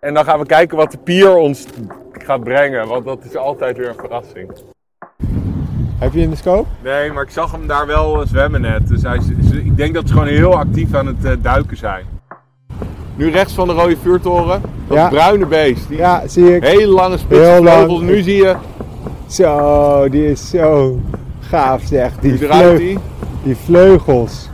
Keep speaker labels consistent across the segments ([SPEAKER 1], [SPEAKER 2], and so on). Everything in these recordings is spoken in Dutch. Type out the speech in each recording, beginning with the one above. [SPEAKER 1] En dan gaan we kijken wat de pier ons gaat brengen, want dat is altijd weer een verrassing.
[SPEAKER 2] Heb je in de scope?
[SPEAKER 1] Nee, maar ik zag hem daar wel zwemmen net. Dus hij, is- ik denk dat ze gewoon heel actief aan het eh, duiken zijn. Nu rechts van de rode vuurtoren, dat
[SPEAKER 2] Ja.
[SPEAKER 1] bruine beest. Die
[SPEAKER 2] Ja, zie ik.
[SPEAKER 1] hele lange spitse
[SPEAKER 2] Heel lang.
[SPEAKER 1] vleugels. Nu zie je,
[SPEAKER 2] Zo, die is zo gaaf zeg. Die,
[SPEAKER 1] nu draait
[SPEAKER 2] vleug-
[SPEAKER 1] hij.
[SPEAKER 2] die vleugels.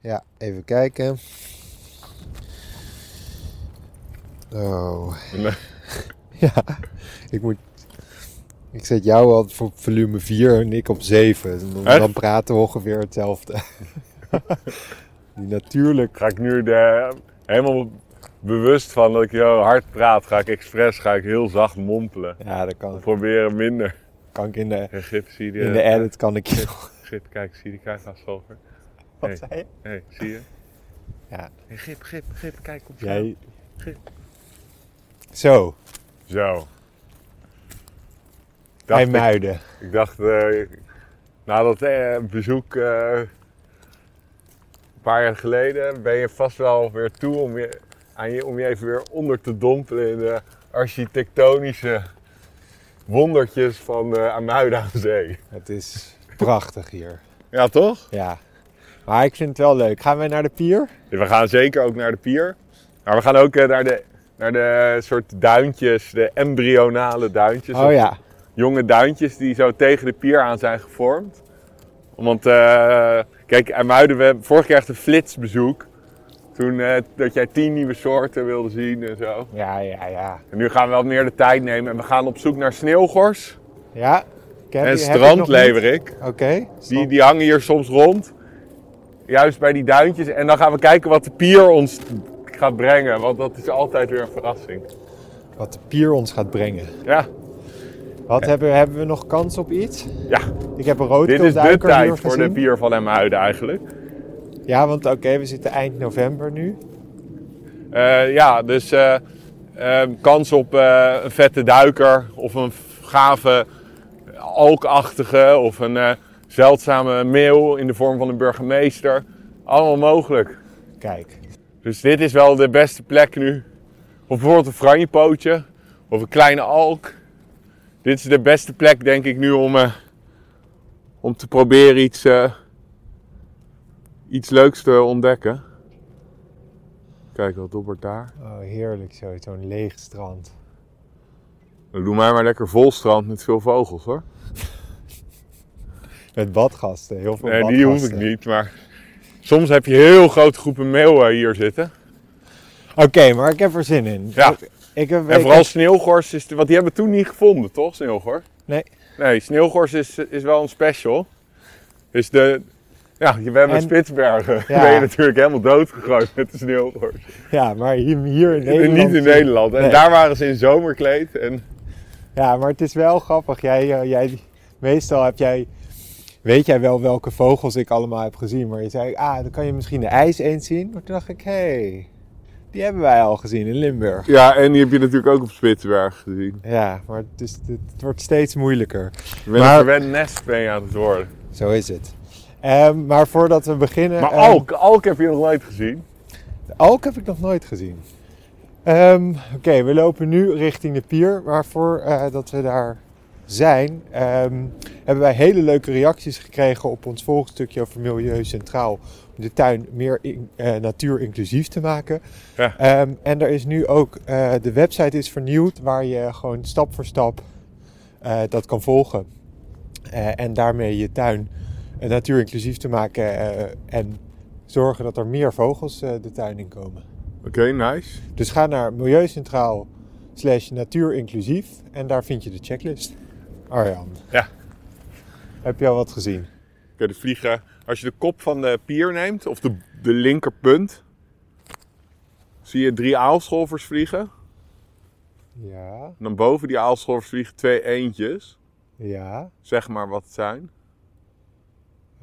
[SPEAKER 2] Ja, even kijken. Oh.
[SPEAKER 1] Nee.
[SPEAKER 2] Ja, ik moet. Ik zet jou al voor volume 4 en ik op 7. Dan,
[SPEAKER 1] Echt?
[SPEAKER 2] dan praten we ongeveer hetzelfde. Die natuurlijk.
[SPEAKER 1] Ga ik nu de, helemaal bewust van dat ik heel hard praat, ga ik expres, ga ik heel zacht mompelen.
[SPEAKER 2] Ja, dat kan,
[SPEAKER 1] Proberen minder. eh,
[SPEAKER 2] kan ik in de,
[SPEAKER 1] Gip, zie je
[SPEAKER 2] in de edit. Kan ik je.
[SPEAKER 1] Gip, kijk, zie je die kruidvaartvolger?
[SPEAKER 2] Wat zei je?
[SPEAKER 1] Hé, hey, zie je?
[SPEAKER 2] Ja.
[SPEAKER 1] Hey, gip, gip, gip, kijk op
[SPEAKER 2] Jij. Zo,
[SPEAKER 1] Zo. Ik dacht,
[SPEAKER 2] bij
[SPEAKER 1] ik,
[SPEAKER 2] Muiden.
[SPEAKER 1] ik dacht eh, na dat eh, bezoek eh, een paar jaar geleden ben je vast wel weer toe om je, aan je, om je even weer onder te dompelen in de architectonische wondertjes van eh Amuida aan Zee.
[SPEAKER 2] Het is prachtig hier.
[SPEAKER 1] Ja, toch?
[SPEAKER 2] Ja. Maar ik vind het wel leuk. Gaan we naar de pier?
[SPEAKER 1] we gaan zeker ook naar de pier. Maar we gaan ook eh, naar, de, naar de soort duintjes, de embryonale duintjes.
[SPEAKER 2] Oh ja.
[SPEAKER 1] jonge duintjes die zo tegen de pier aan zijn gevormd. Want, eh kijk, IJmuiden, we hebben vorig jaar echt een flitsbezoek. Toen eh, dat jij tien nieuwe soorten wilde zien en zo.
[SPEAKER 2] Ja, ja, ja.
[SPEAKER 1] En nu gaan we wat meer de tijd nemen en we gaan op zoek naar sneeuwgors
[SPEAKER 2] Ja. Ken
[SPEAKER 1] en
[SPEAKER 2] die- heb ik nog niet?
[SPEAKER 1] strandleverik.
[SPEAKER 2] Oké.
[SPEAKER 1] Die, die hangen hier soms rond. Juist bij die duintjes. En dan gaan we kijken wat de pier ons gaat brengen. Want dat is altijd weer een verrassing.
[SPEAKER 2] Wat de pier ons gaat brengen.
[SPEAKER 1] Ja,
[SPEAKER 2] Wat hebben, hebben we nog kans op iets?
[SPEAKER 1] ja.
[SPEAKER 2] Ik heb een rood
[SPEAKER 1] dit is de tijd voor de
[SPEAKER 2] gezien.
[SPEAKER 1] pier van IJmuiden eigenlijk.
[SPEAKER 2] Ja, want oké, we zitten eind november nu.
[SPEAKER 1] Eh, ja, dus eh, eh, kans op eh, een vette duiker of een gave alkachtige of een eh, zeldzame meeuw in de vorm van een burgemeester. Allemaal mogelijk.
[SPEAKER 2] Kijk.
[SPEAKER 1] Dus dit is wel de beste plek nu. Of bijvoorbeeld een franjepootje of een kleine alk. Dit is de beste plek denk ik nu om, eh, om te proberen iets, eh, iets leuks te ontdekken. Kijk, wat dobbert daar.
[SPEAKER 2] Oh, heerlijk zo, zo'n leeg strand.
[SPEAKER 1] Nou, Doe mij maar lekker vol strand met veel vogels hoor.
[SPEAKER 2] Met badgasten, heel veel
[SPEAKER 1] Nee,
[SPEAKER 2] badgasten.
[SPEAKER 1] die hoef ik niet, maar soms heb je heel grote groepen meeuwen hier zitten.
[SPEAKER 2] Oké, maar ik heb er zin in.
[SPEAKER 1] Ja.
[SPEAKER 2] Ik heb,
[SPEAKER 1] En vooral sneeuwgors, is, de- want die hebben we toen niet gevonden toch, sneeuwgors?
[SPEAKER 2] Nee.
[SPEAKER 1] Nee, sneeuwgors is, is wel een special. Is de, ja, je bent met
[SPEAKER 2] En-
[SPEAKER 1] Spitsbergen.
[SPEAKER 2] Ja.
[SPEAKER 1] ben je natuurlijk helemaal doodgegooid met de sneeuwgors.
[SPEAKER 2] Ja, maar hier, hier in
[SPEAKER 1] En
[SPEAKER 2] Nederland...
[SPEAKER 1] Niet in Nederland. En
[SPEAKER 2] Nee.
[SPEAKER 1] daar waren ze in zomerkleed. En,
[SPEAKER 2] Ja, maar het is wel grappig. Jij, eh, jij, meestal heb jij, weet jij wel welke vogels ik allemaal heb gezien. Maar je zei, ah, dan kan je misschien de ijs eens zien. Maar toen dacht ik, hé, hey, die hebben wij al gezien in Limburg.
[SPEAKER 1] ja, en die heb je natuurlijk ook op Spitsbergen gezien.
[SPEAKER 2] Ja, maar het, is, het wordt steeds moeilijker.
[SPEAKER 1] Je bent
[SPEAKER 2] Maar-
[SPEAKER 1] een verwend nest ben je aan het worden.
[SPEAKER 2] Zo is het. Ehm, maar voordat we beginnen...
[SPEAKER 1] Maar oh,
[SPEAKER 2] ehm,
[SPEAKER 1] alk, alk heb je nog nooit gezien.
[SPEAKER 2] de alk heb ik nog nooit gezien. Ehm, Oké, we lopen nu richting de pier. Maar voordat dat we daar zijn, ehm, hebben wij hele leuke reacties gekregen op ons volgstukje over Milieu Centraal. Om de tuin meer in, eh, natuurinclusief te maken.
[SPEAKER 1] Ja.
[SPEAKER 2] Ehm, en er is nu ook, eh, de website is vernieuwd waar je gewoon stap voor stap eh, dat kan volgen. Eh, en daarmee je tuin eh, natuurinclusief te maken eh, en zorgen dat er meer vogels eh, de tuin in komen.
[SPEAKER 1] Oké, nice.
[SPEAKER 2] Dus ga naar milieucentraal slash natuurinclusief en daar vind je de checklist. Arjan.
[SPEAKER 1] Ja.
[SPEAKER 2] Heb je al wat gezien?
[SPEAKER 1] Oké, de vliegen. Als je de kop van de pier neemt, of de, de linkerpunt, zie je drie aalscholvers vliegen.
[SPEAKER 2] Ja.
[SPEAKER 1] En dan boven die aalscholvers vliegen twee eendjes.
[SPEAKER 2] Ja,
[SPEAKER 1] Zeg maar wat het zijn.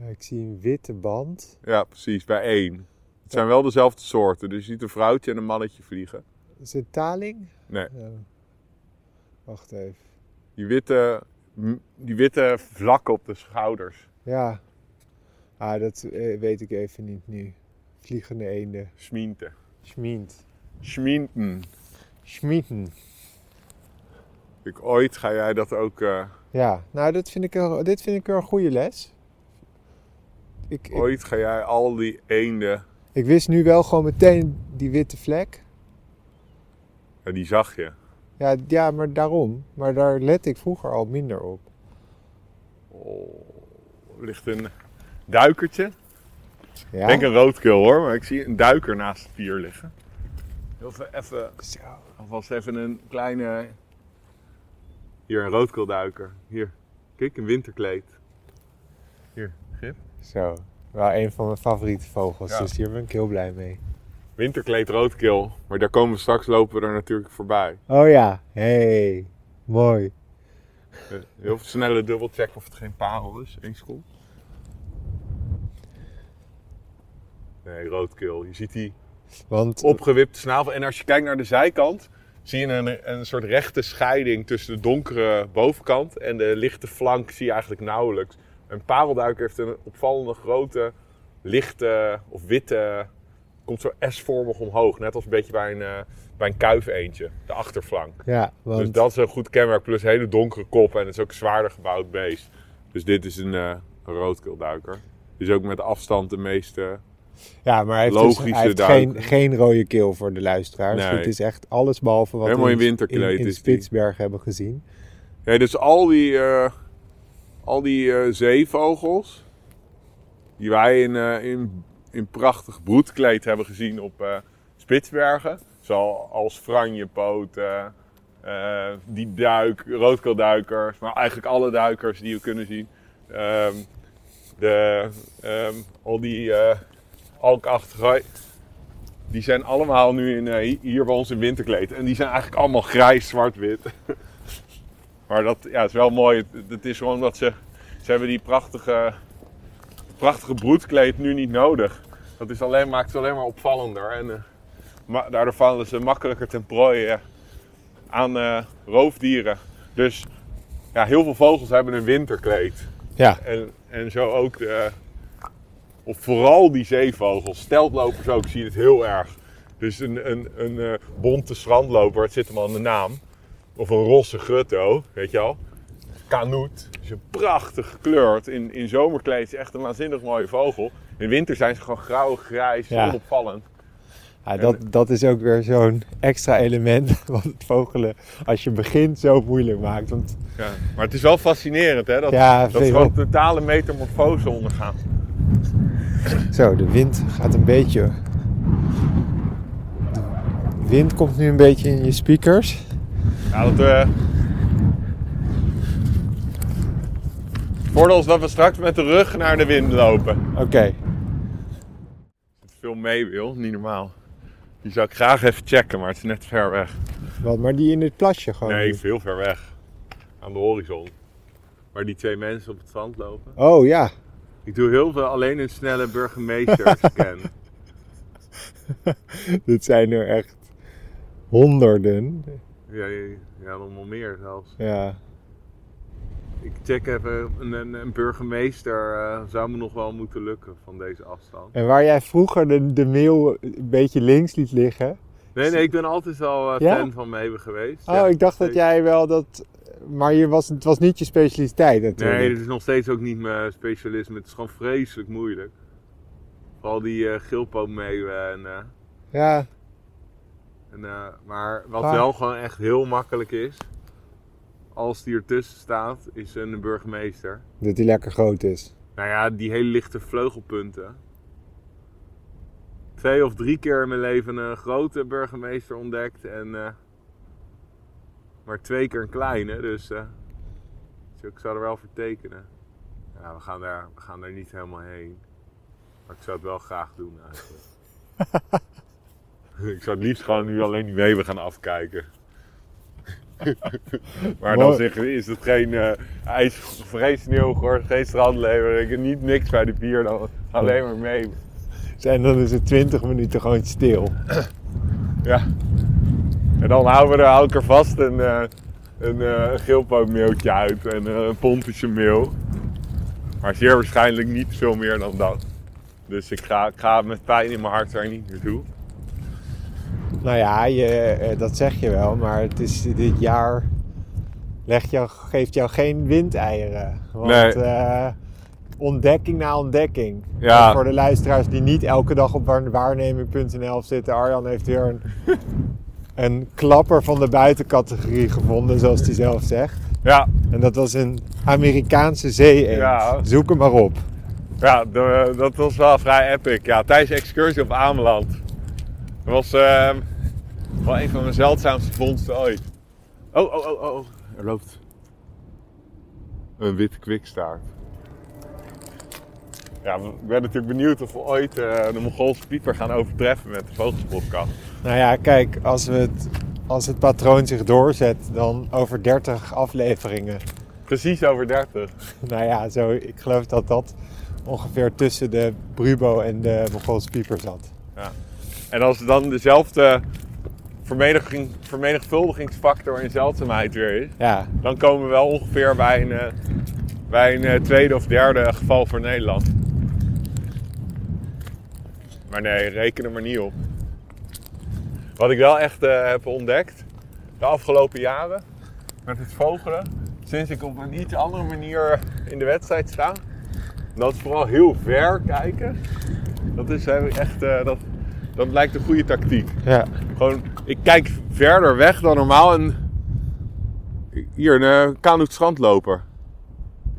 [SPEAKER 2] ik zie een witte band.
[SPEAKER 1] Ja, precies, bij één. Het zijn wel dezelfde soorten, dus je ziet een vrouwtje en een mannetje vliegen.
[SPEAKER 2] Is het taling?
[SPEAKER 1] Nee.
[SPEAKER 2] Ja. Wacht even.
[SPEAKER 1] Die witte, m- die witte vlakken op de schouders.
[SPEAKER 2] Ja. Ah, dat eh, weet ik even niet nu. Vliegende eenden.
[SPEAKER 1] Schmienten.
[SPEAKER 2] Schmient.
[SPEAKER 1] Schmienten.
[SPEAKER 2] Schmieten.
[SPEAKER 1] Ik, ooit ga jij dat ook... eh,
[SPEAKER 2] Ja, nou, dit vind ik een, dit vind ik een goede les. Ik, ik,
[SPEAKER 1] ooit ga jij al die eenden...
[SPEAKER 2] ik wist nu wel gewoon meteen die witte vlek.
[SPEAKER 1] Ja, die zag je.
[SPEAKER 2] Ja, ja, maar daarom. Maar daar lette ik vroeger al minder op.
[SPEAKER 1] Oh, er ligt een duikertje.
[SPEAKER 2] Ja?
[SPEAKER 1] Ik denk een roodkill hoor, maar ik zie een duiker naast het pier liggen. Heel veel even,
[SPEAKER 2] Zo.
[SPEAKER 1] alvast even een kleine... Hier, een roodkeelduiker. Hier, kijk, een winterkleed. Hier, grip.
[SPEAKER 2] Zo. Wel een van mijn favoriete vogels,
[SPEAKER 1] Ja.
[SPEAKER 2] dus hier ben ik heel blij mee.
[SPEAKER 1] Winterkleed roodkeel. Maar daar komen we straks, lopen we er natuurlijk voorbij.
[SPEAKER 2] Oh ja, hey. Mooi.
[SPEAKER 1] Eh, Heel veel snelle dubbelcheck of het geen parel is. Eén seconde. Nee, roodkeel. Je ziet die
[SPEAKER 2] Want
[SPEAKER 1] opgewipte snavel. En als je kijkt naar de zijkant, zie je een, een soort rechte scheiding tussen de donkere bovenkant en de lichte flank zie je eigenlijk nauwelijks. Een parelduiker heeft een opvallende grote, lichte of witte, komt zo S-vormig omhoog. Net als een beetje bij een, eh, bij een kuifeentje, de achterflank.
[SPEAKER 2] ja, want
[SPEAKER 1] Dus dat is een goed kenmerk, plus een hele donkere kop en het is ook een zwaarder gebouwd beest. Dus dit is een, eh een roodkeelduiker. Dus ook met afstand de meeste...
[SPEAKER 2] ja, maar hij heeft, dus-
[SPEAKER 1] logische
[SPEAKER 2] hij heeft
[SPEAKER 1] duiken.
[SPEAKER 2] geen, geen rode keel voor de luisteraars.
[SPEAKER 1] Nee.
[SPEAKER 2] Het is echt alles behalve wat
[SPEAKER 1] Helemaal
[SPEAKER 2] we
[SPEAKER 1] in winterkleed
[SPEAKER 2] in, in
[SPEAKER 1] is die.
[SPEAKER 2] Spitsbergen hebben gezien.
[SPEAKER 1] Ja, dus al die, eh, al die eh, zeevogels die wij in, eh, in, in prachtig broedkleed hebben gezien op eh, Spitsbergen. Zoals franjepoten, eh, die duik, roodkeelduikers, maar eigenlijk alle duikers die we kunnen zien. Ehm, de, ehm, al die eh alkachtige, die zijn allemaal nu in, eh, hier bij ons in winterkleed. En die zijn eigenlijk allemaal grijs, zwart-wit. Maar dat ja, is wel mooi. Het, het is gewoon dat ze, ze hebben die prachtige, prachtige broedkleed nu niet nodig. Dat is alleen, maakt het alleen maar opvallender. En, eh, ma- daardoor vallen ze makkelijker ten prooi eh, aan eh, roofdieren. Dus ja, heel veel vogels hebben een winterkleed.
[SPEAKER 2] Ja,
[SPEAKER 1] En, en zo ook, de, of vooral die zeevogels. Steltlopers ook, zie je het heel erg. Dus een, een, een eh, bonte strandloper, het zit hem al in de naam. Of een rosse grutto, weet je al. Kanoet, is een prachtig gekleurd. In, in zomerkleed is echt een waanzinnig mooie vogel. In winter zijn ze gewoon grauw, grijs,
[SPEAKER 2] Ja.
[SPEAKER 1] onopvallend.
[SPEAKER 2] Ja, dat, dat is ook weer zo'n extra element wat het vogelen als je begint zo moeilijk maakt. Want
[SPEAKER 1] Ja. Maar het is wel fascinerend, hè? Dat,
[SPEAKER 2] Ja,
[SPEAKER 1] dat ze
[SPEAKER 2] vind
[SPEAKER 1] gewoon
[SPEAKER 2] ik
[SPEAKER 1] totale metamorfose ondergaan.
[SPEAKER 2] zo, de wind gaat een beetje. De wind komt nu een beetje in je speakers.
[SPEAKER 1] Ja, dat... eh, Het voordeel is dat we straks met de rug naar de wind lopen.
[SPEAKER 2] Oké,
[SPEAKER 1] Als veel mee wil, niet normaal. Die zou ik graag even checken, maar het is net ver weg.
[SPEAKER 2] wat, maar die in het plasje gewoon.
[SPEAKER 1] Oh, Nee,
[SPEAKER 2] nu.
[SPEAKER 1] veel ver weg. Aan de horizon. Waar die twee mensen op het strand lopen.
[SPEAKER 2] Oh ja,
[SPEAKER 1] Ik doe heel veel alleen een snelle burgemeesterscan.
[SPEAKER 2] dit zijn er echt honderden.
[SPEAKER 1] ja, ja, ja, nog wel meer zelfs.
[SPEAKER 2] Ja,
[SPEAKER 1] Ik check even, een, een, een burgemeester eh, zou me nog wel moeten lukken van deze afstand.
[SPEAKER 2] en waar jij vroeger de, de mail een beetje links liet liggen.
[SPEAKER 1] Nee, nee, ik ben altijd al eh,
[SPEAKER 2] Ja?
[SPEAKER 1] fan van Meebe geweest.
[SPEAKER 2] Oh,
[SPEAKER 1] Ja,
[SPEAKER 2] ik dacht dat
[SPEAKER 1] zeker.
[SPEAKER 2] jij wel dat. Maar je was, het was niet je specialiteit natuurlijk.
[SPEAKER 1] Nee, dit is nog steeds ook niet mijn specialisme. Het is gewoon vreselijk moeilijk. Vooral die eh gilpootmeeuwen en... eh,
[SPEAKER 2] Ja,
[SPEAKER 1] en eh, maar wat
[SPEAKER 2] Ah.
[SPEAKER 1] wel gewoon echt heel makkelijk is... Als die ertussen staat, is een burgemeester.
[SPEAKER 2] dat die lekker groot is.
[SPEAKER 1] Nou ja, die hele lichte vleugelpunten. Twee of drie keer in mijn leven een grote burgemeester ontdekt. En eh, maar twee keer een kleine. Dus eh, dus ik zou er wel voor tekenen. Ja, we gaan, daar, we gaan daar niet helemaal heen. Maar ik zou het wel graag doen eigenlijk. ik zou het liefst gewoon nu alleen die weven gaan afkijken. Maar dan
[SPEAKER 2] Mooi.
[SPEAKER 1] zeg, is het geen eh ijs, of geen sneeuw geworden, geen strandlever, niet niks bij de pier, dan alleen maar mee.
[SPEAKER 2] En dan is het 20 minuten gewoon stil.
[SPEAKER 1] Ja. En dan houden we er, hou ik er vast een, eh een eh, geelpootmeeltje uit en eh, een pompische meel. Maar zeer waarschijnlijk niet veel meer dan dat. Dus ik ga, ik ga met pijn in mijn hart daar niet naartoe.
[SPEAKER 2] Nou ja, je, eh, dat zeg je wel, maar het is dit jaar legt jou, geeft jou geen windeieren. Want
[SPEAKER 1] Nee.
[SPEAKER 2] eh, ontdekking na ontdekking.
[SPEAKER 1] Ja.
[SPEAKER 2] En Voor de luisteraars die niet elke dag op waar- waarneming.nl zitten, Arjan heeft weer een, een klapper van de buitencategorie gevonden, zoals hij zelf zegt.
[SPEAKER 1] Ja,
[SPEAKER 2] En dat was een Amerikaanse zee
[SPEAKER 1] Ja.
[SPEAKER 2] Zoek hem maar op.
[SPEAKER 1] ja de- dat was wel vrij epic. Ja, tijdens de excursie op Ameland. Dat was eh, wel een van mijn zeldzaamste vondsten ooit. Oh, oh, oh, oh. Er loopt een witte kwikstaart. Ja, ik ben natuurlijk benieuwd of we ooit eh, de Mongoolse pieper gaan overtreffen met de vogelspodcast.
[SPEAKER 2] Nou ja, kijk, als, we het, als het patroon zich doorzet, dan over 30 afleveringen.
[SPEAKER 1] Precies over 30.
[SPEAKER 2] Nou ja, zo, ik geloof dat dat ongeveer tussen de Brubo en de Mongoolse pieper zat.
[SPEAKER 1] En als dan dezelfde vermenigvuldiging- vermenigvuldigingsfactor in zeldzaamheid weer is,
[SPEAKER 2] Ja,
[SPEAKER 1] dan komen we wel ongeveer bij een, eh, bij een eh, tweede of derde geval voor Nederland. Maar nee, reken er maar niet op. Wat ik wel echt eh, heb ontdekt de afgelopen jaren met het vogelen, sinds ik op een iets andere manier in de wedstrijd sta, dat is vooral heel ver kijken. Dat is eh, echt, eh, dat, dat lijkt een goede tactiek.
[SPEAKER 2] ja.
[SPEAKER 1] Gewoon, ik kijk verder weg dan normaal en hier een eh, kanoet strandloper.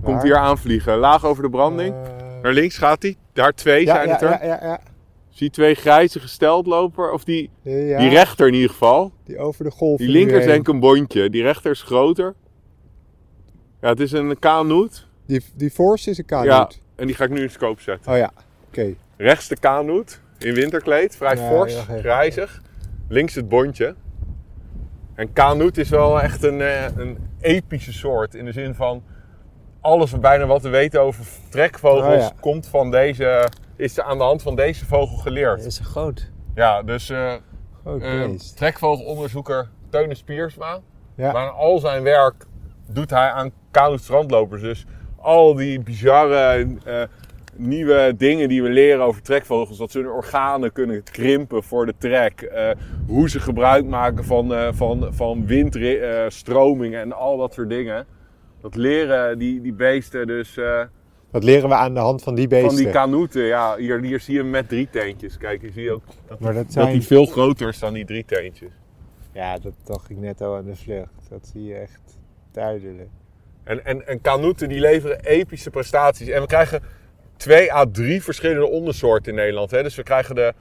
[SPEAKER 1] Komt
[SPEAKER 2] Waar?
[SPEAKER 1] hier aanvliegen, laag over de branding.
[SPEAKER 2] Eh,
[SPEAKER 1] Naar links gaat hij. Daar twee
[SPEAKER 2] ja,
[SPEAKER 1] zijn
[SPEAKER 2] ja,
[SPEAKER 1] het er.
[SPEAKER 2] ja, ja, ja.
[SPEAKER 1] Zie twee grijze gesteld lopen, of die,
[SPEAKER 2] Ja,
[SPEAKER 1] die rechter in ieder geval.
[SPEAKER 2] die over de golf.
[SPEAKER 1] Die linker is
[SPEAKER 2] heen.
[SPEAKER 1] denk ik een bondje, die rechter is groter. Ja, het is een kanoet.
[SPEAKER 2] Die, die voorste is een kanoot.
[SPEAKER 1] Ja, en die ga ik nu in scope zetten.
[SPEAKER 2] Oh ja, oké.
[SPEAKER 1] Rechts de kanoet, in winterkleed, vrij
[SPEAKER 2] Ja,
[SPEAKER 1] fors,
[SPEAKER 2] wacht even.
[SPEAKER 1] grijzig. Links het bondje. En kanoet is wel echt een, eh, een epische soort. In de zin van, alles bijna wat we weten over trekvogels...
[SPEAKER 2] Oh ja.
[SPEAKER 1] komt van deze, is aan de hand van deze vogel geleerd.
[SPEAKER 2] is een groot.
[SPEAKER 1] Ja, dus eh,
[SPEAKER 2] Groot
[SPEAKER 1] eh,
[SPEAKER 2] beest.
[SPEAKER 1] trekvogelonderzoeker Teune Spiersma...
[SPEAKER 2] Ja.
[SPEAKER 1] Maar aan al zijn werk doet hij aan koude strandlopers. Dus al die bizarre eh, nieuwe dingen die we leren over trekvogels. Dat ze hun organen kunnen krimpen voor de trek. eh, hoe ze gebruik maken van, eh, van, van windstromingen en al dat soort dingen. Dat leren die, die beesten dus eh,
[SPEAKER 2] Dat leren we aan de hand van die beesten.
[SPEAKER 1] van die kanoeten. Ja, hier, hier zie je hem met drie teentjes. Kijk, hier zie je ook dat,
[SPEAKER 2] maar dat
[SPEAKER 1] dat
[SPEAKER 2] zijn...
[SPEAKER 1] die veel groter is dan die drie teentjes.
[SPEAKER 2] Ja, dat dacht ik net al aan de vlucht. Dat zie je echt duidelijk.
[SPEAKER 1] En, en, en kanoeten die leveren epische prestaties. En we krijgen twee à drie verschillende ondersoorten in Nederland. Hè? Dus we krijgen de,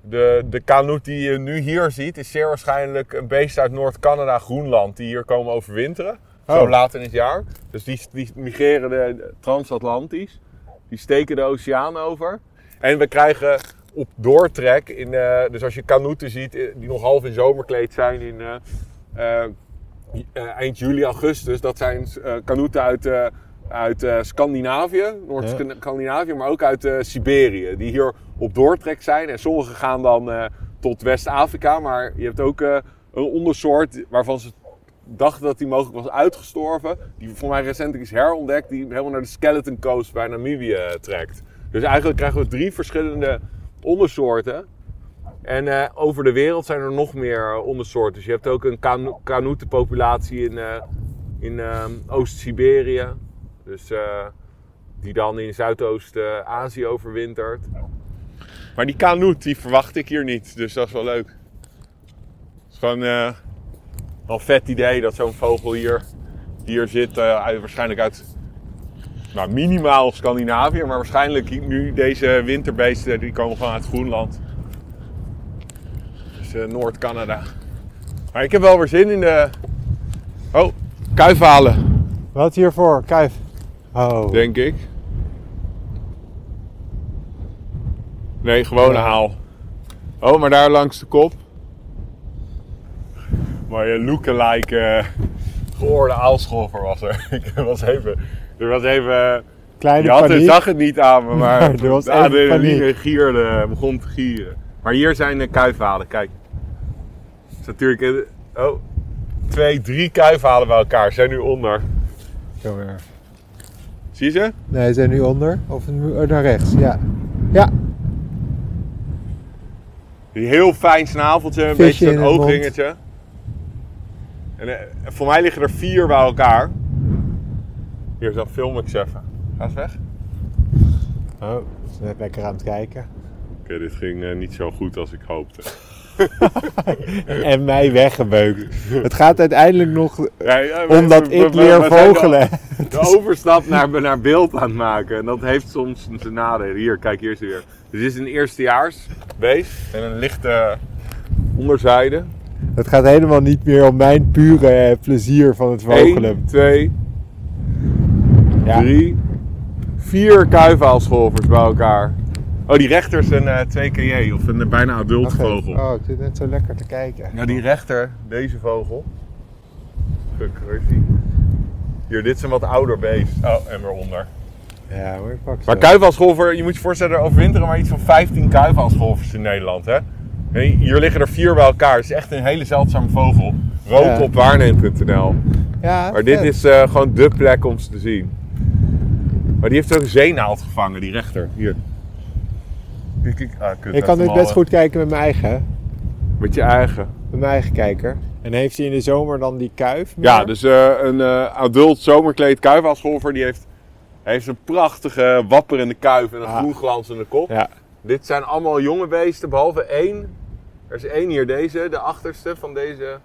[SPEAKER 1] de, de kanoet die je nu hier ziet, is zeer waarschijnlijk een beest uit Noord-Canada, Groenland, die hier komen overwinteren. Zo
[SPEAKER 2] Oh.
[SPEAKER 1] laat in het jaar. Dus die, die migreren de- de transatlantisch. Die steken de oceaan over. En we krijgen op doortrek, in, eh, dus als je kanoeten ziet eh, die nog half in zomerkleed zijn in eh, eh, eh, eind juli, augustus. Dat zijn eh kanoeten uit, eh, uit eh, Scandinavië, Noord-Scandinavië, maar ook uit eh, Siberië. Die hier op doortrek zijn. En sommige gaan dan eh, tot West-Afrika. Maar je hebt ook eh, een ondersoort waarvan ze dachten dat die mogelijk was uitgestorven. Die voor mij recentelijk is herontdekt. Die helemaal naar de Skeleton Coast bij Namibië eh, trekt. Dus eigenlijk krijgen we drie verschillende ondersoorten. En eh, over de wereld zijn er nog meer eh, ondersoorten. Dus je hebt ook een kano- kanoetenpopulatie in, eh, in ehm, Oost-Siberië. Dus eh, die dan in Zuidoost-Azië overwintert. Maar die kanoet, die verwacht ik hier niet. Dus dat is wel leuk. Het is gewoon eh, wel een vet idee dat zo'n vogel hier, hier zit. eh, uit- waarschijnlijk uit nou, minimaal Scandinavië. Maar waarschijnlijk nu deze winterbeesten, die komen gewoon uit Groenland. Dus eh, Noord-Canada. Maar ik heb wel weer zin in de. Oh, kuif halen,
[SPEAKER 2] Wat hiervoor? Kuif. Oh.
[SPEAKER 1] denk ik. Nee, gewone haal. Oh, maar daar langs de kop. Maar je lookalike eh geoorde aalscholver was er. ik was even... Er was even...
[SPEAKER 2] Kleine
[SPEAKER 1] je had het,
[SPEAKER 2] paniek.
[SPEAKER 1] zag het niet aan me, maar
[SPEAKER 2] Maar er was
[SPEAKER 1] de
[SPEAKER 2] even
[SPEAKER 1] adrenaline
[SPEAKER 2] paniek.
[SPEAKER 1] gierde, begon te gieren. Maar hier zijn de kuifhalen, kijk. Het is natuurlijk... in- Oh, twee, drie kuifhalen bij elkaar. Zijn nu onder.
[SPEAKER 2] Zo weer.
[SPEAKER 1] Zie je ze?
[SPEAKER 2] Nee, ze zijn nu onder. Of nu- eh, naar rechts. Ja. Ja.
[SPEAKER 1] Die heel fijn snaveltje, een
[SPEAKER 2] Visje
[SPEAKER 1] beetje
[SPEAKER 2] in
[SPEAKER 1] zo'n
[SPEAKER 2] de mond.
[SPEAKER 1] oogringetje. En eh, voor mij liggen er vier bij elkaar. Hier, zo film ik ze even. Ga eens weg.
[SPEAKER 2] Oh, ze zijn lekker aan het kijken.
[SPEAKER 1] Oké, dit ging eh, niet zo goed als ik hoopte.
[SPEAKER 2] en mij weggebeukt. Het gaat uiteindelijk nog
[SPEAKER 1] Ja, ja, we-
[SPEAKER 2] omdat
[SPEAKER 1] we-
[SPEAKER 2] ik
[SPEAKER 1] we-
[SPEAKER 2] leer
[SPEAKER 1] we zijn de-
[SPEAKER 2] vogelen.
[SPEAKER 1] De overstap naar, naar beeld aan het maken. En dat heeft soms zijn nadelen. Hier, kijk, hier is hij weer. Dus dit is een eerstejaars beest. En een lichte onderzijde.
[SPEAKER 2] Het gaat helemaal niet meer om mijn pure eh, plezier van het vogelen.
[SPEAKER 1] 1, 2,
[SPEAKER 2] Ja.
[SPEAKER 1] drie, vier kuifhaalscholvers bij elkaar. Oh, die rechter is een eh 2KJ of een eh, bijna adult
[SPEAKER 2] Wacht even.
[SPEAKER 1] vogel.
[SPEAKER 2] Oh, ik zit net zo lekker te kijken.
[SPEAKER 1] Ja, die rechter, deze vogel. Fuck, waar is die? Hier, dit is een wat ouder beest. Oh, en weer onder.
[SPEAKER 2] Ja hoor, ik pak ze.
[SPEAKER 1] Maar kuifhaalscholver, je moet je voorstellen, er overwinteren maar iets van 15 kuifhaalscholvers in Nederland, hè? Nee, Hier liggen er vier bij elkaar. Het is echt een hele zeldzame vogel. Rook
[SPEAKER 2] Ja.
[SPEAKER 1] op waarneem.nl.
[SPEAKER 2] ja,
[SPEAKER 1] Maar dit
[SPEAKER 2] vet.
[SPEAKER 1] is eh, gewoon dé plek om ze te zien. Maar die heeft ook een zeenaald gevangen, die rechter. Hier. Kijk, kijk. Ah, kut,
[SPEAKER 2] Ik
[SPEAKER 1] hij
[SPEAKER 2] kan dit
[SPEAKER 1] heeft hem
[SPEAKER 2] best
[SPEAKER 1] al,
[SPEAKER 2] goed kijken met mijn eigen,
[SPEAKER 1] eh, Met je eigen.
[SPEAKER 2] met mijn eigen kijker. En heeft hij in de zomer dan die kuif? meer?
[SPEAKER 1] Ja, dus eh, een eh, adult zomerkleed kuifhaalscholver, die heeft, hij heeft een prachtige wapperende kuif en een
[SPEAKER 2] Ah.
[SPEAKER 1] groen glanzende kop.
[SPEAKER 2] Ja.
[SPEAKER 1] Dit zijn allemaal jonge beesten, behalve één. Er is één hier, deze, de achterste van deze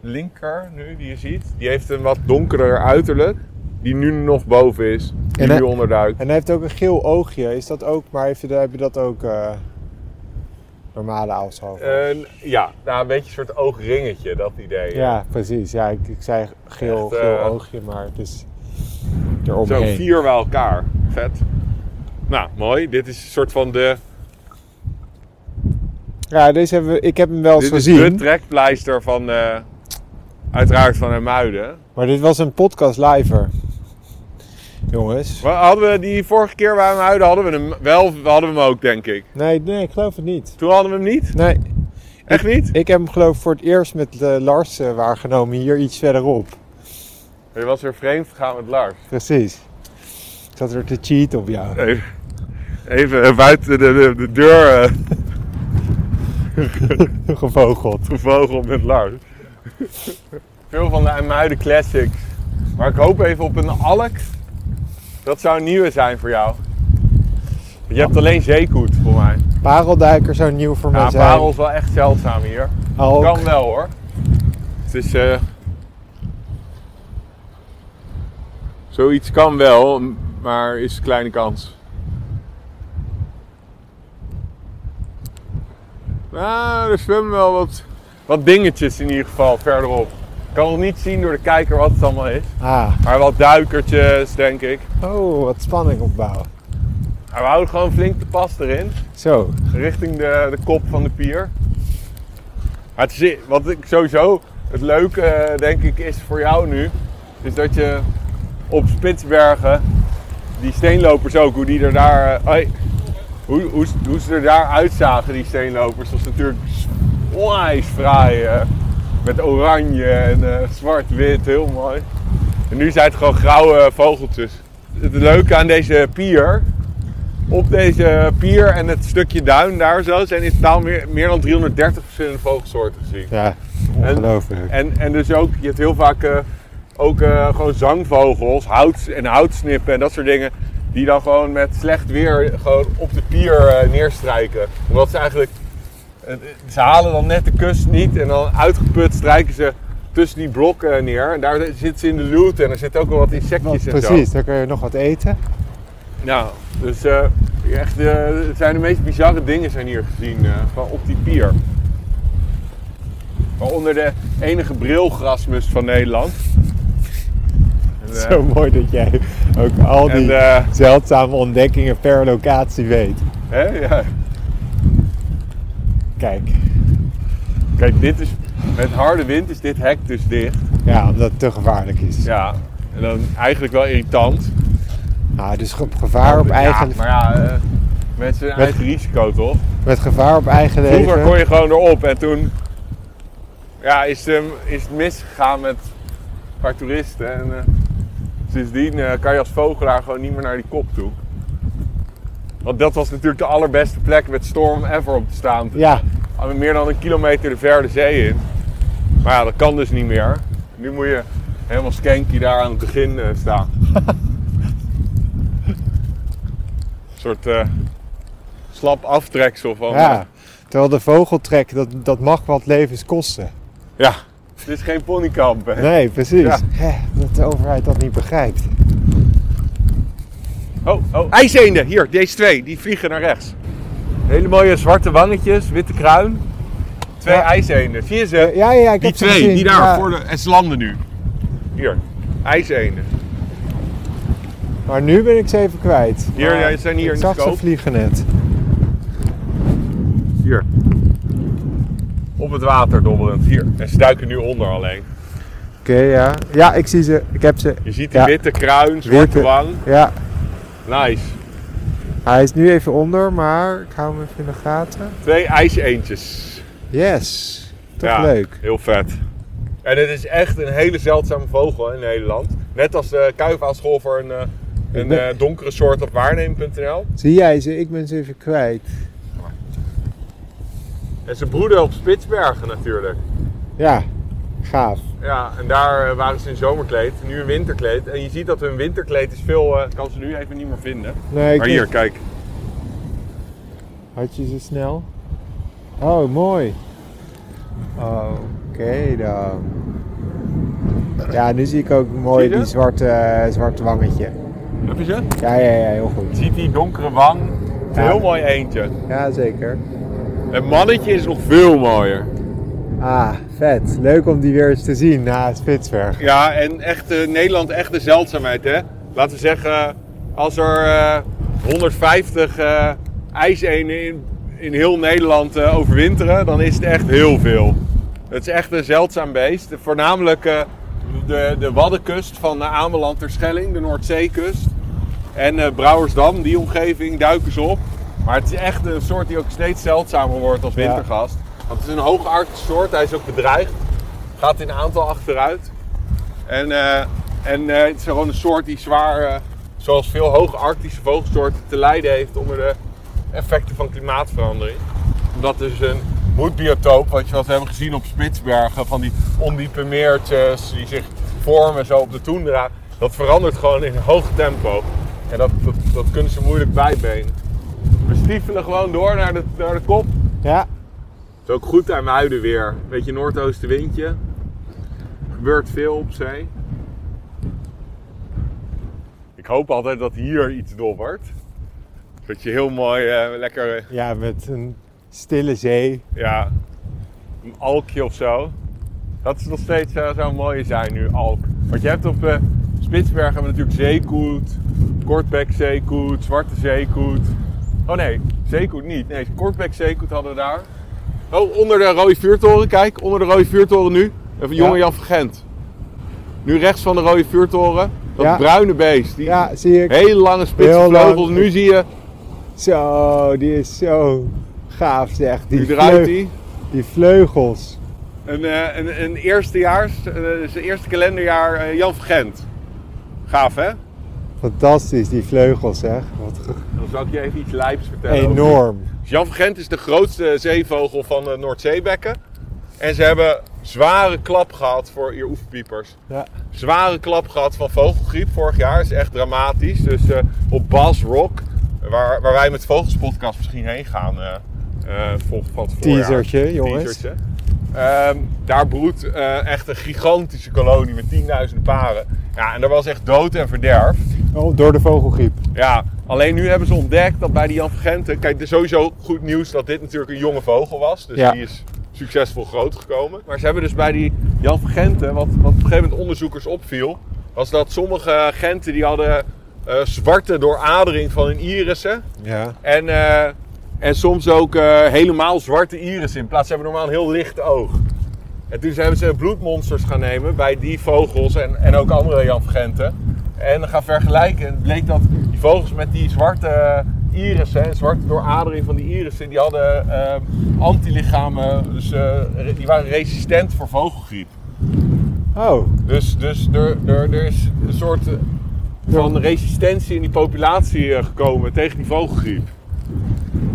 [SPEAKER 1] linker nu, die je ziet. Die heeft een wat donkerder uiterlijk, die nu nog boven is, die
[SPEAKER 2] En hij-
[SPEAKER 1] nu onderduikt.
[SPEAKER 2] En hij heeft ook een geel oogje. Is dat ook, maar heeft, heb je dat ook eh, normale aalshoofd?
[SPEAKER 1] Een- Eh, ja, nou, een beetje een soort oogringetje, dat idee.
[SPEAKER 2] ja, precies. Ja, ik, ik zei geel,
[SPEAKER 1] Echt,
[SPEAKER 2] geel
[SPEAKER 1] eh,
[SPEAKER 2] oogje, maar het is
[SPEAKER 1] Zo
[SPEAKER 2] eromheen.
[SPEAKER 1] vier bij elkaar. Vet. Nou, mooi. Dit is een soort van de...
[SPEAKER 2] Ja, deze hebben we, ik heb hem wel eens
[SPEAKER 1] Dit is de
[SPEAKER 2] gezien.
[SPEAKER 1] trekpleister van... eh, uiteraard van Muiden.
[SPEAKER 2] Maar dit was een podcast liver. Jongens.
[SPEAKER 1] Maar hadden we die vorige keer bij Muiden, hadden we hem wel... Hadden we hem ook, denk ik.
[SPEAKER 2] Nee, nee, ik geloof het niet.
[SPEAKER 1] Toen hadden we hem niet.
[SPEAKER 2] Nee,
[SPEAKER 1] Echt niet?
[SPEAKER 2] ik heb hem geloof ik voor het eerst met eh, Lars eh, waargenomen hier iets verderop.
[SPEAKER 1] Je was weer vreemd gegaan met Lars.
[SPEAKER 2] Precies. Ik zat er te cheat op jou.
[SPEAKER 1] Even, even eh, buiten de, de, de deur eh,
[SPEAKER 2] Gevogeld.
[SPEAKER 1] gevogeld met Lars. Veel van de IJmuiden Classics. Maar ik hoop even op een Alk. Dat zou een nieuwe zijn voor jou. Je hebt alleen zeekoet voor mij.
[SPEAKER 2] Parelduiker zou nieuw voor mij
[SPEAKER 1] Ja,
[SPEAKER 2] zijn. Oh,
[SPEAKER 1] parel is wel echt zeldzaam hier.
[SPEAKER 2] Alk.
[SPEAKER 1] Kan wel hoor. Het is... eh, Zoiets kan wel, m- maar is kleine kans. Nou, er zwemmen wel wat, wat dingetjes in ieder geval verderop. Ik kan nog niet zien door de kijker wat het allemaal is.
[SPEAKER 2] Ah,
[SPEAKER 1] Maar wat duikertjes, denk ik.
[SPEAKER 2] oh, wat spanning opbouwen.
[SPEAKER 1] Maar we houden gewoon flink de pas erin.
[SPEAKER 2] Zo,
[SPEAKER 1] richting de, de kop van de pier. Maar het is, wat ik sowieso het leuke eh, denk ik is voor jou nu, is dat je op Spitsbergen die steenlopers ook, hoe die er daar, eh, hoi, hoe, hoe, ze- hoe ze er daar uitzagen die steenlopers, dat was natuurlijk onwijs fraai. eh, met oranje en eh, zwart-wit, heel mooi. En nu zijn het gewoon grauwe vogeltjes. Het leuke aan deze pier op deze pier en het stukje duin daar zo zijn in totaal meer, meer dan 330 verschillende vogelsoorten gezien.
[SPEAKER 2] ja, ongelooflijk.
[SPEAKER 1] En, en dus ook, je hebt heel vaak eh, ook eh, gewoon zangvogels hout, en houtsnippen en dat soort dingen. Die dan gewoon met slecht weer gewoon op de pier eh, neerstrijken. Omdat ze eigenlijk, eh, ze halen dan net de kust niet en dan uitgeput strijken ze tussen die blokken eh, neer. En daar zitten ze in de loot en er zitten ook wel wat insectjes
[SPEAKER 2] Want
[SPEAKER 1] en zo.
[SPEAKER 2] precies, dan kun je nog wat eten.
[SPEAKER 1] Nou, dus eh, echt, eh, het zijn de meest bizarre dingen zijn hier gezien, eh, gewoon op die pier. Waaronder de enige brilgrasmus van Nederland. En, eh,
[SPEAKER 2] Zo mooi dat jij ook al
[SPEAKER 1] en,
[SPEAKER 2] die
[SPEAKER 1] eh,
[SPEAKER 2] zeldzame ontdekkingen per locatie weet.
[SPEAKER 1] hè, ja.
[SPEAKER 2] Kijk,
[SPEAKER 1] Kijk, dit is, Met harde wind is dit hek dus dicht.
[SPEAKER 2] Ja, omdat het te gevaarlijk is. Ja.
[SPEAKER 1] Ja, en dan eigenlijk wel irritant.
[SPEAKER 2] dus ge- op gevaar op
[SPEAKER 1] Ja,
[SPEAKER 2] eigen,
[SPEAKER 1] maar ja, eh, mensen hun
[SPEAKER 2] Met-
[SPEAKER 1] eigen risico toch?
[SPEAKER 2] met gevaar op eigen leven.
[SPEAKER 1] Vroeger kon je gewoon erop en toen ja, is, ehm, is het misgegaan met een paar toeristen. En eh, sindsdien eh, kan je als vogelaar gewoon niet meer naar die kop toe. Want dat was natuurlijk de allerbeste plek met storm ever om te staan.
[SPEAKER 2] Ja,
[SPEAKER 1] Al Meer dan een kilometer de verre zee in. Maar ja, dat kan dus niet meer. Nu moet je helemaal skanky daar aan het begin eh, staan. een soort eh, slap aftreksel van... eh,
[SPEAKER 2] ja. Terwijl de vogeltrek, dat, dat mag wat levens kosten.
[SPEAKER 1] Ja, het is geen ponykamp. Hè?
[SPEAKER 2] Nee, precies.
[SPEAKER 1] Ja.
[SPEAKER 2] Hè, dat de overheid dat niet begrijpt.
[SPEAKER 1] Oh, oh, ijseenden. Hier, deze twee. Die vliegen naar rechts. Hele mooie zwarte wangetjes, witte kruin. Twee
[SPEAKER 2] Ja.
[SPEAKER 1] ijseenden. Zie je ze?
[SPEAKER 2] Ja, ja, ik
[SPEAKER 1] Die
[SPEAKER 2] heb ze
[SPEAKER 1] twee,
[SPEAKER 2] gezien.
[SPEAKER 1] die daar.
[SPEAKER 2] Ja,
[SPEAKER 1] Voor de, en ze landen nu. Hier, ijseenden.
[SPEAKER 2] Maar nu ben ik ze even kwijt.
[SPEAKER 1] Hier,
[SPEAKER 2] Maar
[SPEAKER 1] ja, ze zijn hier
[SPEAKER 2] Ik
[SPEAKER 1] in de
[SPEAKER 2] zag ze
[SPEAKER 1] scope.
[SPEAKER 2] vliegen net.
[SPEAKER 1] Hier. Op het water dobbelend. Hier. En ze duiken nu onder alleen.
[SPEAKER 2] Oké, ja. Ja, ik zie ze. Ik heb ze.
[SPEAKER 1] Je ziet die
[SPEAKER 2] Ja.
[SPEAKER 1] witte kruin, zwarte
[SPEAKER 2] Witte.
[SPEAKER 1] wang.
[SPEAKER 2] Ja,
[SPEAKER 1] Nice.
[SPEAKER 2] hij is nu even onder, maar ik hou hem even in de gaten.
[SPEAKER 1] Twee ijseendjes.
[SPEAKER 2] Yes. Toch
[SPEAKER 1] Ja,
[SPEAKER 2] leuk.
[SPEAKER 1] Heel vet. En het is echt een hele zeldzame vogel in Nederland. Net als de kuifaalschool voor een, eh, een
[SPEAKER 2] ben-
[SPEAKER 1] eh, donkere soort op waarnemen.nl.
[SPEAKER 2] Zie jij ze? Ik ben ze even kwijt.
[SPEAKER 1] En ze broeden op Spitsbergen natuurlijk.
[SPEAKER 2] Ja, gaaf.
[SPEAKER 1] Ja, en daar eh, waren ze in zomerkleed, nu in winterkleed. En je ziet dat hun winterkleed is veel... eh, Ik kan ze nu even niet meer vinden.
[SPEAKER 2] Nee, ik
[SPEAKER 1] maar hier,
[SPEAKER 2] denk-
[SPEAKER 1] kijk.
[SPEAKER 2] Had je ze snel? Oh, mooi. Oké dan. Ja, nu zie ik ook mooi
[SPEAKER 1] Zie je?
[SPEAKER 2] die zwarte, eh, zwarte wangetje.
[SPEAKER 1] Heb je ze?
[SPEAKER 2] Ja, ja, ja, heel goed.
[SPEAKER 1] Je ziet die donkere wang. Het is een
[SPEAKER 2] Ja.
[SPEAKER 1] Heel mooi eentje.
[SPEAKER 2] Ja, zeker.
[SPEAKER 1] Het mannetje is nog veel mooier.
[SPEAKER 2] Ah, vet. Leuk om die weer eens te zien na het Spitsberg.
[SPEAKER 1] Ja, en echt, eh, Nederland echt een zeldzaamheid, hè? Laten we zeggen, als er eh, 150 eh ijsenen in, in heel Nederland eh, overwinteren, dan is het echt heel veel. Het is echt een zeldzaam beest. Voornamelijk eh, de, de Waddenkust van eh, Ameland ter Schelling, de Noordzeekust. En eh, Brouwersdam, die omgeving, duiken ze op. Maar het is echt een soort die ook steeds zeldzamer wordt als
[SPEAKER 2] Ja.
[SPEAKER 1] wintergast. Want het is een hoogaardige soort, hij is ook bedreigd. Gaat in aantal achteruit. En, eh, en eh, het is gewoon een soort die zwaar, eh, zoals veel hoge arctische vogelsoorten, te lijden heeft onder de effecten van klimaatverandering. Omdat dus een moedbiotoop, wat je wat we hebben gezien op Spitsbergen, van die ondiepe meertjes die zich vormen zo op de toendra, dat verandert gewoon in hoog tempo. En dat, dat, dat kunnen ze moeilijk bijbenen. We stiefelen gewoon door naar de, naar de kop.
[SPEAKER 2] Ja,
[SPEAKER 1] Het is ook goed aan muiden weer. Beetje noordoostenwindje. Er gebeurt veel op zee. Ik hoop altijd dat hier iets dobbert. Dat je heel mooi, eh, lekker, eh,
[SPEAKER 2] ja met een stille zee.
[SPEAKER 1] ja, een alkje of zo. Dat is nog steeds eh, zo'n mooie zijn nu, alk. Want je hebt op eh, Spitsbergen hebben we natuurlijk zeekoet, kortbek zeekoet, zwarte zeekoet. Oh nee, zeekoet niet. Nee, kortbek zeekoet hadden we daar. Oh, onder de rode vuurtoren, kijk. Onder de rode vuurtoren nu. Even jonge
[SPEAKER 2] Ja.
[SPEAKER 1] Jan van Gent. Nu rechts van de rode vuurtoren. Dat
[SPEAKER 2] Ja.
[SPEAKER 1] bruine beest. Die
[SPEAKER 2] Ja, zie ik.
[SPEAKER 1] hele lange spitse
[SPEAKER 2] Heel lang.
[SPEAKER 1] vleugels. Nu zie je,
[SPEAKER 2] Zo, die is zo gaaf zeg. Die,
[SPEAKER 1] nu draait
[SPEAKER 2] vleug-
[SPEAKER 1] hij.
[SPEAKER 2] die vleugels.
[SPEAKER 1] Een, eh, een, een eerstejaars, eh, zijn eerste kalenderjaar eh, Jan van Gent. Gaaf hè?
[SPEAKER 2] Fantastisch, die vleugels zeg. Wat ge-
[SPEAKER 1] Dan zal ik je even iets lijps vertellen.
[SPEAKER 2] enorm.
[SPEAKER 1] Dus Jan van Gent is de grootste zeevogel van de Noordzeebekken. En ze hebben zware klap gehad voor je oefenpiepers.
[SPEAKER 2] Ja.
[SPEAKER 1] zware klap gehad van vogelgriep vorig jaar. is echt dramatisch. Dus eh, op Bas Rock, waar, waar wij met Vogelspodcast misschien heen gaan. eh eh, vol- van het voorjaar.
[SPEAKER 2] Teasertje, jongens.
[SPEAKER 1] Teasertje. Ehm, daar broedt eh, echt een gigantische kolonie met tienduizenden paren. Ja, en er was echt dood en verderf.
[SPEAKER 2] Oh, door de vogelgriep.
[SPEAKER 1] Ja, alleen nu hebben ze ontdekt dat bij die Jan van Genten... Kijk, het is sowieso goed nieuws dat dit natuurlijk een jonge vogel was. Dus
[SPEAKER 2] Ja.
[SPEAKER 1] die is succesvol groot gekomen. Maar ze hebben dus bij die Jan van Genten, wat, wat op een gegeven moment onderzoekers opviel... was dat sommige Genten die hadden eh, zwarte dooradering van hun irissen.
[SPEAKER 2] Ja.
[SPEAKER 1] En, eh, en soms ook eh, helemaal zwarte iris in plaats. Ze hebben normaal een heel licht oog. En toen zijn ze bloedmonsters gaan nemen bij die vogels en, en ook andere janvergenten. En gaan vergelijken. En het bleek dat die vogels met die zwarte eh, irissen, en zwarte dooradering van die irissen, die hadden eh, antilichamen. Dus eh, re- die waren resistent voor vogelgriep.
[SPEAKER 2] Oh,
[SPEAKER 1] Dus, dus er, er, er is een soort eh, van resistentie in die populatie eh, gekomen tegen die vogelgriep.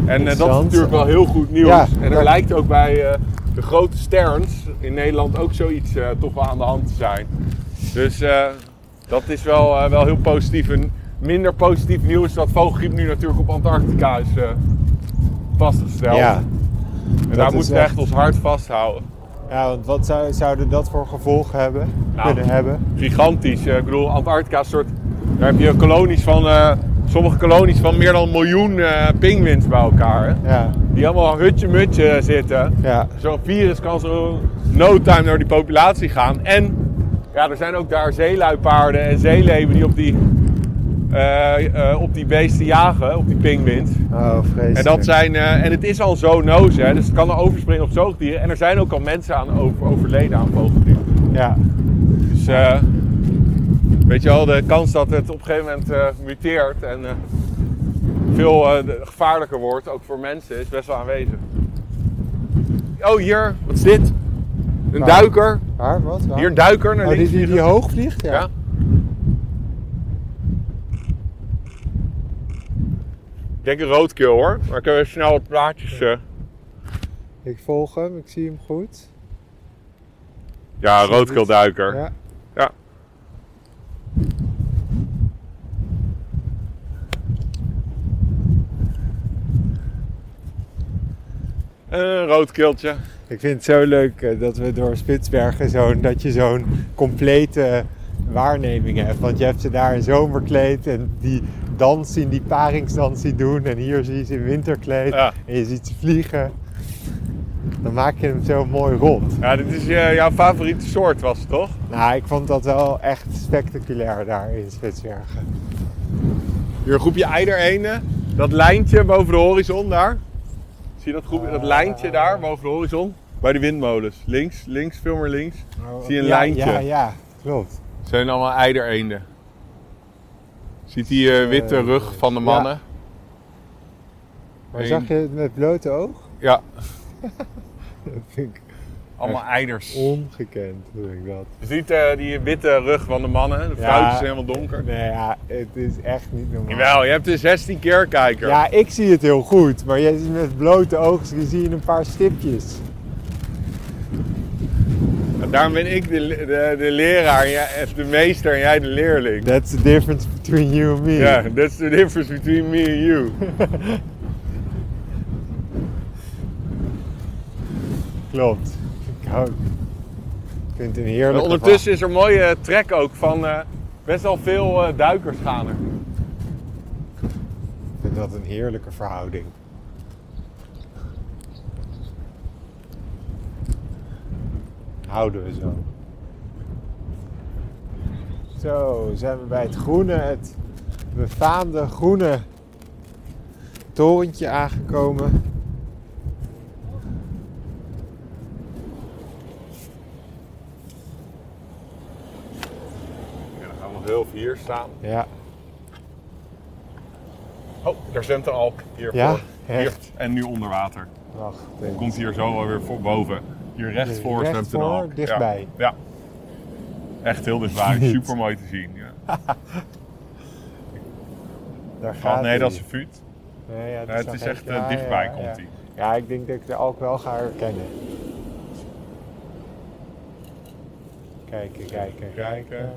[SPEAKER 1] En eh, dat is
[SPEAKER 2] Interessant.
[SPEAKER 1] natuurlijk wel heel goed nieuws.
[SPEAKER 2] Ja,
[SPEAKER 1] en er
[SPEAKER 2] dat-
[SPEAKER 1] lijkt ook bij eh, de grote sterns in Nederland ook zoiets eh, toch wel aan de hand te zijn. Dus eh, dat is wel, eh, wel heel positief. En minder positief nieuws is dat vogelgriep nu natuurlijk op Antarctica is eh, vastgesteld.
[SPEAKER 2] ja.
[SPEAKER 1] en daar
[SPEAKER 2] is
[SPEAKER 1] moeten we echt
[SPEAKER 2] echt-
[SPEAKER 1] ons hart vasthouden.
[SPEAKER 2] Ja, want wat zou, zouden dat voor gevolgen hebben?
[SPEAKER 1] Nou.
[SPEAKER 2] Kunnen hebben?
[SPEAKER 1] gigantisch. Eh, Ik bedoel, Antarctica is een soort. Daar heb je kolonies van. eh, sommige kolonies van meer dan een miljoen eh pinguïns bij elkaar. hè.
[SPEAKER 2] Ja,
[SPEAKER 1] Die allemaal hutje-mutje zitten.
[SPEAKER 2] ja.
[SPEAKER 1] Zo'n virus kan zo no time door die populatie gaan. En ja, er zijn ook daar zeeluipaarden en zeeleven die op die, eh, eh, op die beesten jagen, op die pinguïns.
[SPEAKER 2] Oh, vreselijk.
[SPEAKER 1] En, dat zijn, eh, en het is al zoonose, hè, dus het kan overspringen op zoogdieren. En er zijn ook al mensen aan over, overleden aan vogelgriep.
[SPEAKER 2] Ja,
[SPEAKER 1] Dus eh, weet je wel, de kans dat het op een gegeven moment eh, muteert en eh, veel eh, de- gevaarlijker wordt, ook voor mensen, is best wel aanwezig. Oh, hier, wat is dit? Een
[SPEAKER 2] Waar?
[SPEAKER 1] duiker.
[SPEAKER 2] waar? Wat? Waar?
[SPEAKER 1] Hier een duiker naar
[SPEAKER 2] Nou. Oh, die,
[SPEAKER 1] links.
[SPEAKER 2] die, die hoog vliegt? Ja.
[SPEAKER 1] Ja. Ik denk een roodkeel hoor, maar ik heb even snel wat plaatjes. eh.
[SPEAKER 2] Ik volg hem, ik zie hem goed.
[SPEAKER 1] Ja, een roodkeelduiker.
[SPEAKER 2] Ja.
[SPEAKER 1] Ja. Een roodkeeltje.
[SPEAKER 2] Ik vind het zo leuk eh, dat we door Spitsbergen zo'n, dat je zo'n complete waarneming hebt. Want je hebt ze daar in zomerkleed en die dans zien, die paringsdans zien doen. En hier zie je ze in winterkleed
[SPEAKER 1] Ja.
[SPEAKER 2] en je ziet ze vliegen. Dan maak je hem zo mooi rond.
[SPEAKER 1] Ja, dit is eh, jouw favoriete soort was het toch?
[SPEAKER 2] Nou, ik vond dat wel echt spectaculair daar in Spitsbergen.
[SPEAKER 1] Hier een groepje eiderenen. Dat lijntje boven de horizon daar. Zie je dat, groepje, dat lijntje daar boven de horizon? Bij de windmolens. Links, links, veel meer links. Oh, Zie je een
[SPEAKER 2] Nou, ja,
[SPEAKER 1] lijntje.
[SPEAKER 2] Ja, ja, klopt.
[SPEAKER 1] zijn allemaal eidereenden. Ziet die eh, witte
[SPEAKER 2] Eh,
[SPEAKER 1] rug van de mannen?
[SPEAKER 2] Maar
[SPEAKER 1] Eén.
[SPEAKER 2] zag je het met blote oog?
[SPEAKER 1] Ja,
[SPEAKER 2] Dat vind ik
[SPEAKER 1] allemaal eiders.
[SPEAKER 2] ongekend, hoe ik dat.
[SPEAKER 1] Je ziet eh, die witte rug van de mannen. De fruit is helemaal donker.
[SPEAKER 2] Nee, ja, het is echt niet normaal.
[SPEAKER 1] Jawel, je hebt een 16 keer kijker.
[SPEAKER 2] Ja, ik zie het heel goed, maar je ziet met blote ogen dus zie je een paar stipjes.
[SPEAKER 1] Daarom ben ik de, de, de leraar, en jij, of de meester en jij de leerling.
[SPEAKER 2] That's the difference between you and me.
[SPEAKER 1] Ja, that's the difference between me and you.
[SPEAKER 2] Klopt. Ik hou... Ik vind het een
[SPEAKER 1] En
[SPEAKER 2] heerlijke
[SPEAKER 1] ondertussen is er een mooie trek ook van eh, best wel veel eh, duikers gaan er.
[SPEAKER 2] verha- Ik vind dat een heerlijke verhouding. Houden we zo. Zo, zijn we bij het groene, het befaamde groene torentje aangekomen.
[SPEAKER 1] Ja, dan gaan we nog heel veel hier staan.
[SPEAKER 2] Ja,
[SPEAKER 1] Oh, daar zwemt een alk. Hier
[SPEAKER 2] Ja,
[SPEAKER 1] voor. Hier.
[SPEAKER 2] echt.
[SPEAKER 1] En nu onder water.
[SPEAKER 2] wacht. even.
[SPEAKER 1] Komt hier zo alweer voor boven. Hier rechts
[SPEAKER 2] Hier
[SPEAKER 1] voor
[SPEAKER 2] recht
[SPEAKER 1] zwemt een
[SPEAKER 2] voor,
[SPEAKER 1] alk. Ja.
[SPEAKER 2] dichtbij.
[SPEAKER 1] Ja. Echt heel dichtbij.
[SPEAKER 2] Niet.
[SPEAKER 1] Super mooi te zien. Ja.
[SPEAKER 2] Daar gaat
[SPEAKER 1] Oh, nee,
[SPEAKER 2] hij.
[SPEAKER 1] dat is een vuut.
[SPEAKER 2] Nee, ja, dat
[SPEAKER 1] Nee, het
[SPEAKER 2] nog
[SPEAKER 1] is
[SPEAKER 2] echt-
[SPEAKER 1] echt, eh,
[SPEAKER 2] ja,
[SPEAKER 1] dichtbij
[SPEAKER 2] ja,
[SPEAKER 1] komt
[SPEAKER 2] ja.
[SPEAKER 1] hij.
[SPEAKER 2] Ja, ik denk dat ik de alk wel ga herkennen. Kijken, kijken, kijken.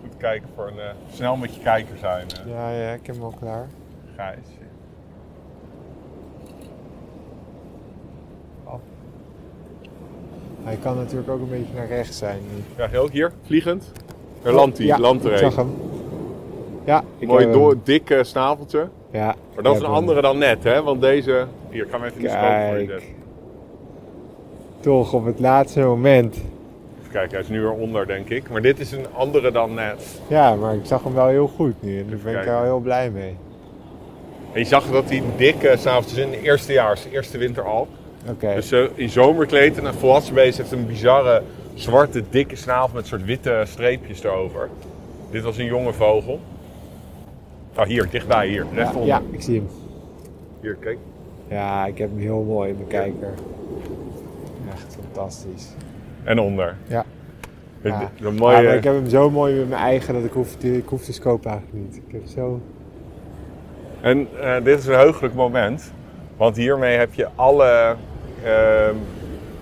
[SPEAKER 1] Goed kijken voor een. eh, snel met je kijker zijn, eh,
[SPEAKER 2] Ja, ja, ik heb hem al klaar.
[SPEAKER 1] Gijs.
[SPEAKER 2] Hij kan natuurlijk ook een beetje naar rechts zijn. nu.
[SPEAKER 1] Ja, heel hier, vliegend. Daar landt hij,
[SPEAKER 2] Oh, ja,
[SPEAKER 1] landt er
[SPEAKER 2] ik
[SPEAKER 1] een.
[SPEAKER 2] zag hem. Ja, ik
[SPEAKER 1] Mooi
[SPEAKER 2] heb hem.
[SPEAKER 1] door, dik eh, snaveltje.
[SPEAKER 2] Ja,
[SPEAKER 1] Maar
[SPEAKER 2] ik
[SPEAKER 1] dat is
[SPEAKER 2] heb
[SPEAKER 1] een
[SPEAKER 2] hem.
[SPEAKER 1] andere dan net, hè? Want deze. Hier, ik ga hem even in de scope voor je
[SPEAKER 2] Kijk.
[SPEAKER 1] zetten.
[SPEAKER 2] Toch, op het laatste moment.
[SPEAKER 1] Even kijken, hij is nu eronder, denk ik. Maar dit is een andere dan net.
[SPEAKER 2] Ja, maar ik zag hem wel heel goed nu. En daar ben ik
[SPEAKER 1] kijken.
[SPEAKER 2] wel heel blij mee.
[SPEAKER 1] dus En je zag dat hij dik eh, snaveltjes in de eerstejaars, eerste winteralp.
[SPEAKER 2] Oké.
[SPEAKER 1] Dus eh, in zomerkleed en een volwassen beest heeft een bizarre zwarte dikke snavel met soort witte streepjes erover. Dit was een jonge vogel. Nou hier, dichtbij hier, recht onder.
[SPEAKER 2] ja, ik zie hem.
[SPEAKER 1] Hier, kijk.
[SPEAKER 2] Ja, ik heb hem heel mooi in mijn kijker. Echt fantastisch.
[SPEAKER 1] En onder.
[SPEAKER 2] Ja.
[SPEAKER 1] Een
[SPEAKER 2] Ja.
[SPEAKER 1] Een
[SPEAKER 2] Ja,
[SPEAKER 1] mooie...
[SPEAKER 2] maar ik heb hem zo mooi met mijn eigen dat ik hoef, te- ik hoef de scope eigenlijk niet. Ik heb zo...
[SPEAKER 1] En eh, dit is een heugelijk moment, want hiermee heb je alle ehm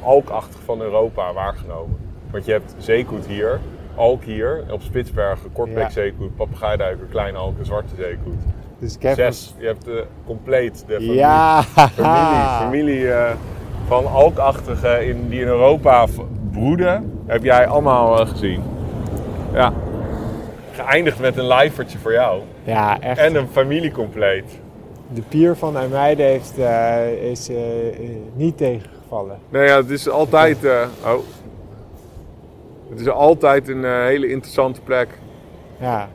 [SPEAKER 1] alkachtig van Europa waargenomen. Want je hebt zeekoet hier, alk hier, op Spitsbergen, kortbek
[SPEAKER 2] Ja.
[SPEAKER 1] zeekoet, papegaaiduiker, kleine alk en zwarte zeekoet.
[SPEAKER 2] Dus ik heb
[SPEAKER 1] Zes, je hebt eh, compleet de
[SPEAKER 2] hem-
[SPEAKER 1] familie,
[SPEAKER 2] Ja!
[SPEAKER 1] familie, familie eh, van alkachtigen in, die in Europa v- broeden, heb jij allemaal eh, gezien. Ja. Geëindigd met een lijfertje voor jou.
[SPEAKER 2] Ja, echt.
[SPEAKER 1] En een familie compleet.
[SPEAKER 2] De pier van IJmuiden heeft, eh, is eh, eh, niet tegengevallen.
[SPEAKER 1] Nou ja, het is altijd. eh, oh. Het is altijd een eh, hele interessante plek.
[SPEAKER 2] Ja.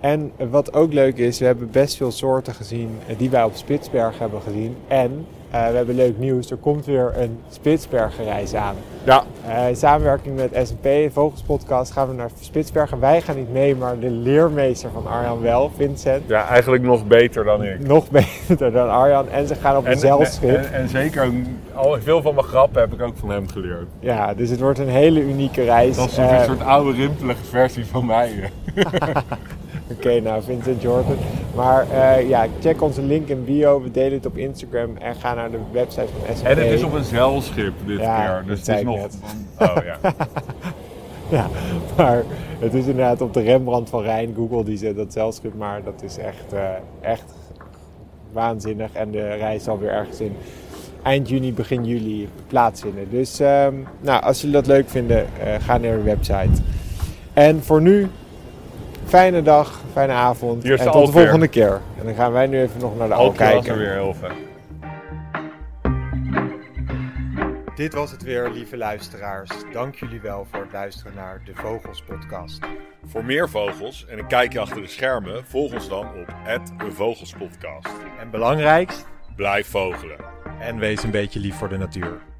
[SPEAKER 2] En wat ook leuk is, we hebben best veel soorten gezien eh, die wij op Spitsbergen hebben gezien. En eh, we hebben leuk nieuws, er komt weer een Spitsbergenreis aan.
[SPEAKER 1] Ja.
[SPEAKER 2] Eh, in samenwerking met S&P Vogelspodcast gaan we naar Spitsbergen. Wij gaan niet mee, maar de leermeester van Arjan wel, Vincent.
[SPEAKER 1] Ja, eigenlijk nog beter dan ik.
[SPEAKER 2] Nog beter dan Arjan. En ze gaan op een zeilschip.
[SPEAKER 1] en, en zeker ook al veel van mijn grappen heb ik ook van hem geleerd.
[SPEAKER 2] Ja, dus het wordt een hele unieke reis.
[SPEAKER 1] Dat is
[SPEAKER 2] Eh,
[SPEAKER 1] een soort oude rimpelige versie van mij.
[SPEAKER 2] Oké, nou Vincent Jordan. Maar eh, ja, check onze link in bio. We delen het op Instagram en ga naar de website van S&P.
[SPEAKER 1] En het is op een zeilschip dit
[SPEAKER 2] Ja,
[SPEAKER 1] keer. Dus
[SPEAKER 2] dat
[SPEAKER 1] het
[SPEAKER 2] zei
[SPEAKER 1] is
[SPEAKER 2] ik
[SPEAKER 1] nog.
[SPEAKER 2] net.
[SPEAKER 1] Oh ja.
[SPEAKER 2] Ja, maar het is inderdaad op de Rembrandt van Rijn. Google die zet dat zelfschip, maar dat is echt, eh, echt waanzinnig. En de reis zal weer ergens in eind juni, begin juli plaatsvinden. Dus ehm, nou, als jullie dat leuk vinden, eh, ga naar de website. En voor nu, fijne dag, fijne avond.
[SPEAKER 1] Hier is
[SPEAKER 2] en
[SPEAKER 1] de
[SPEAKER 2] tot de
[SPEAKER 1] Alk weer.
[SPEAKER 2] volgende keer. En dan gaan wij nu even nog naar de al
[SPEAKER 1] Ook was er
[SPEAKER 2] kijken.
[SPEAKER 1] weer heel vet.
[SPEAKER 2] Dit was het weer, lieve luisteraars. Dank jullie wel voor het luisteren naar de Vogels Podcast.
[SPEAKER 1] Voor meer vogels en een kijkje achter de schermen, volg ons dan op de Vogelspodcast.
[SPEAKER 2] En belangrijkst.
[SPEAKER 1] Blijf vogelen.
[SPEAKER 2] En wees een beetje lief voor de natuur.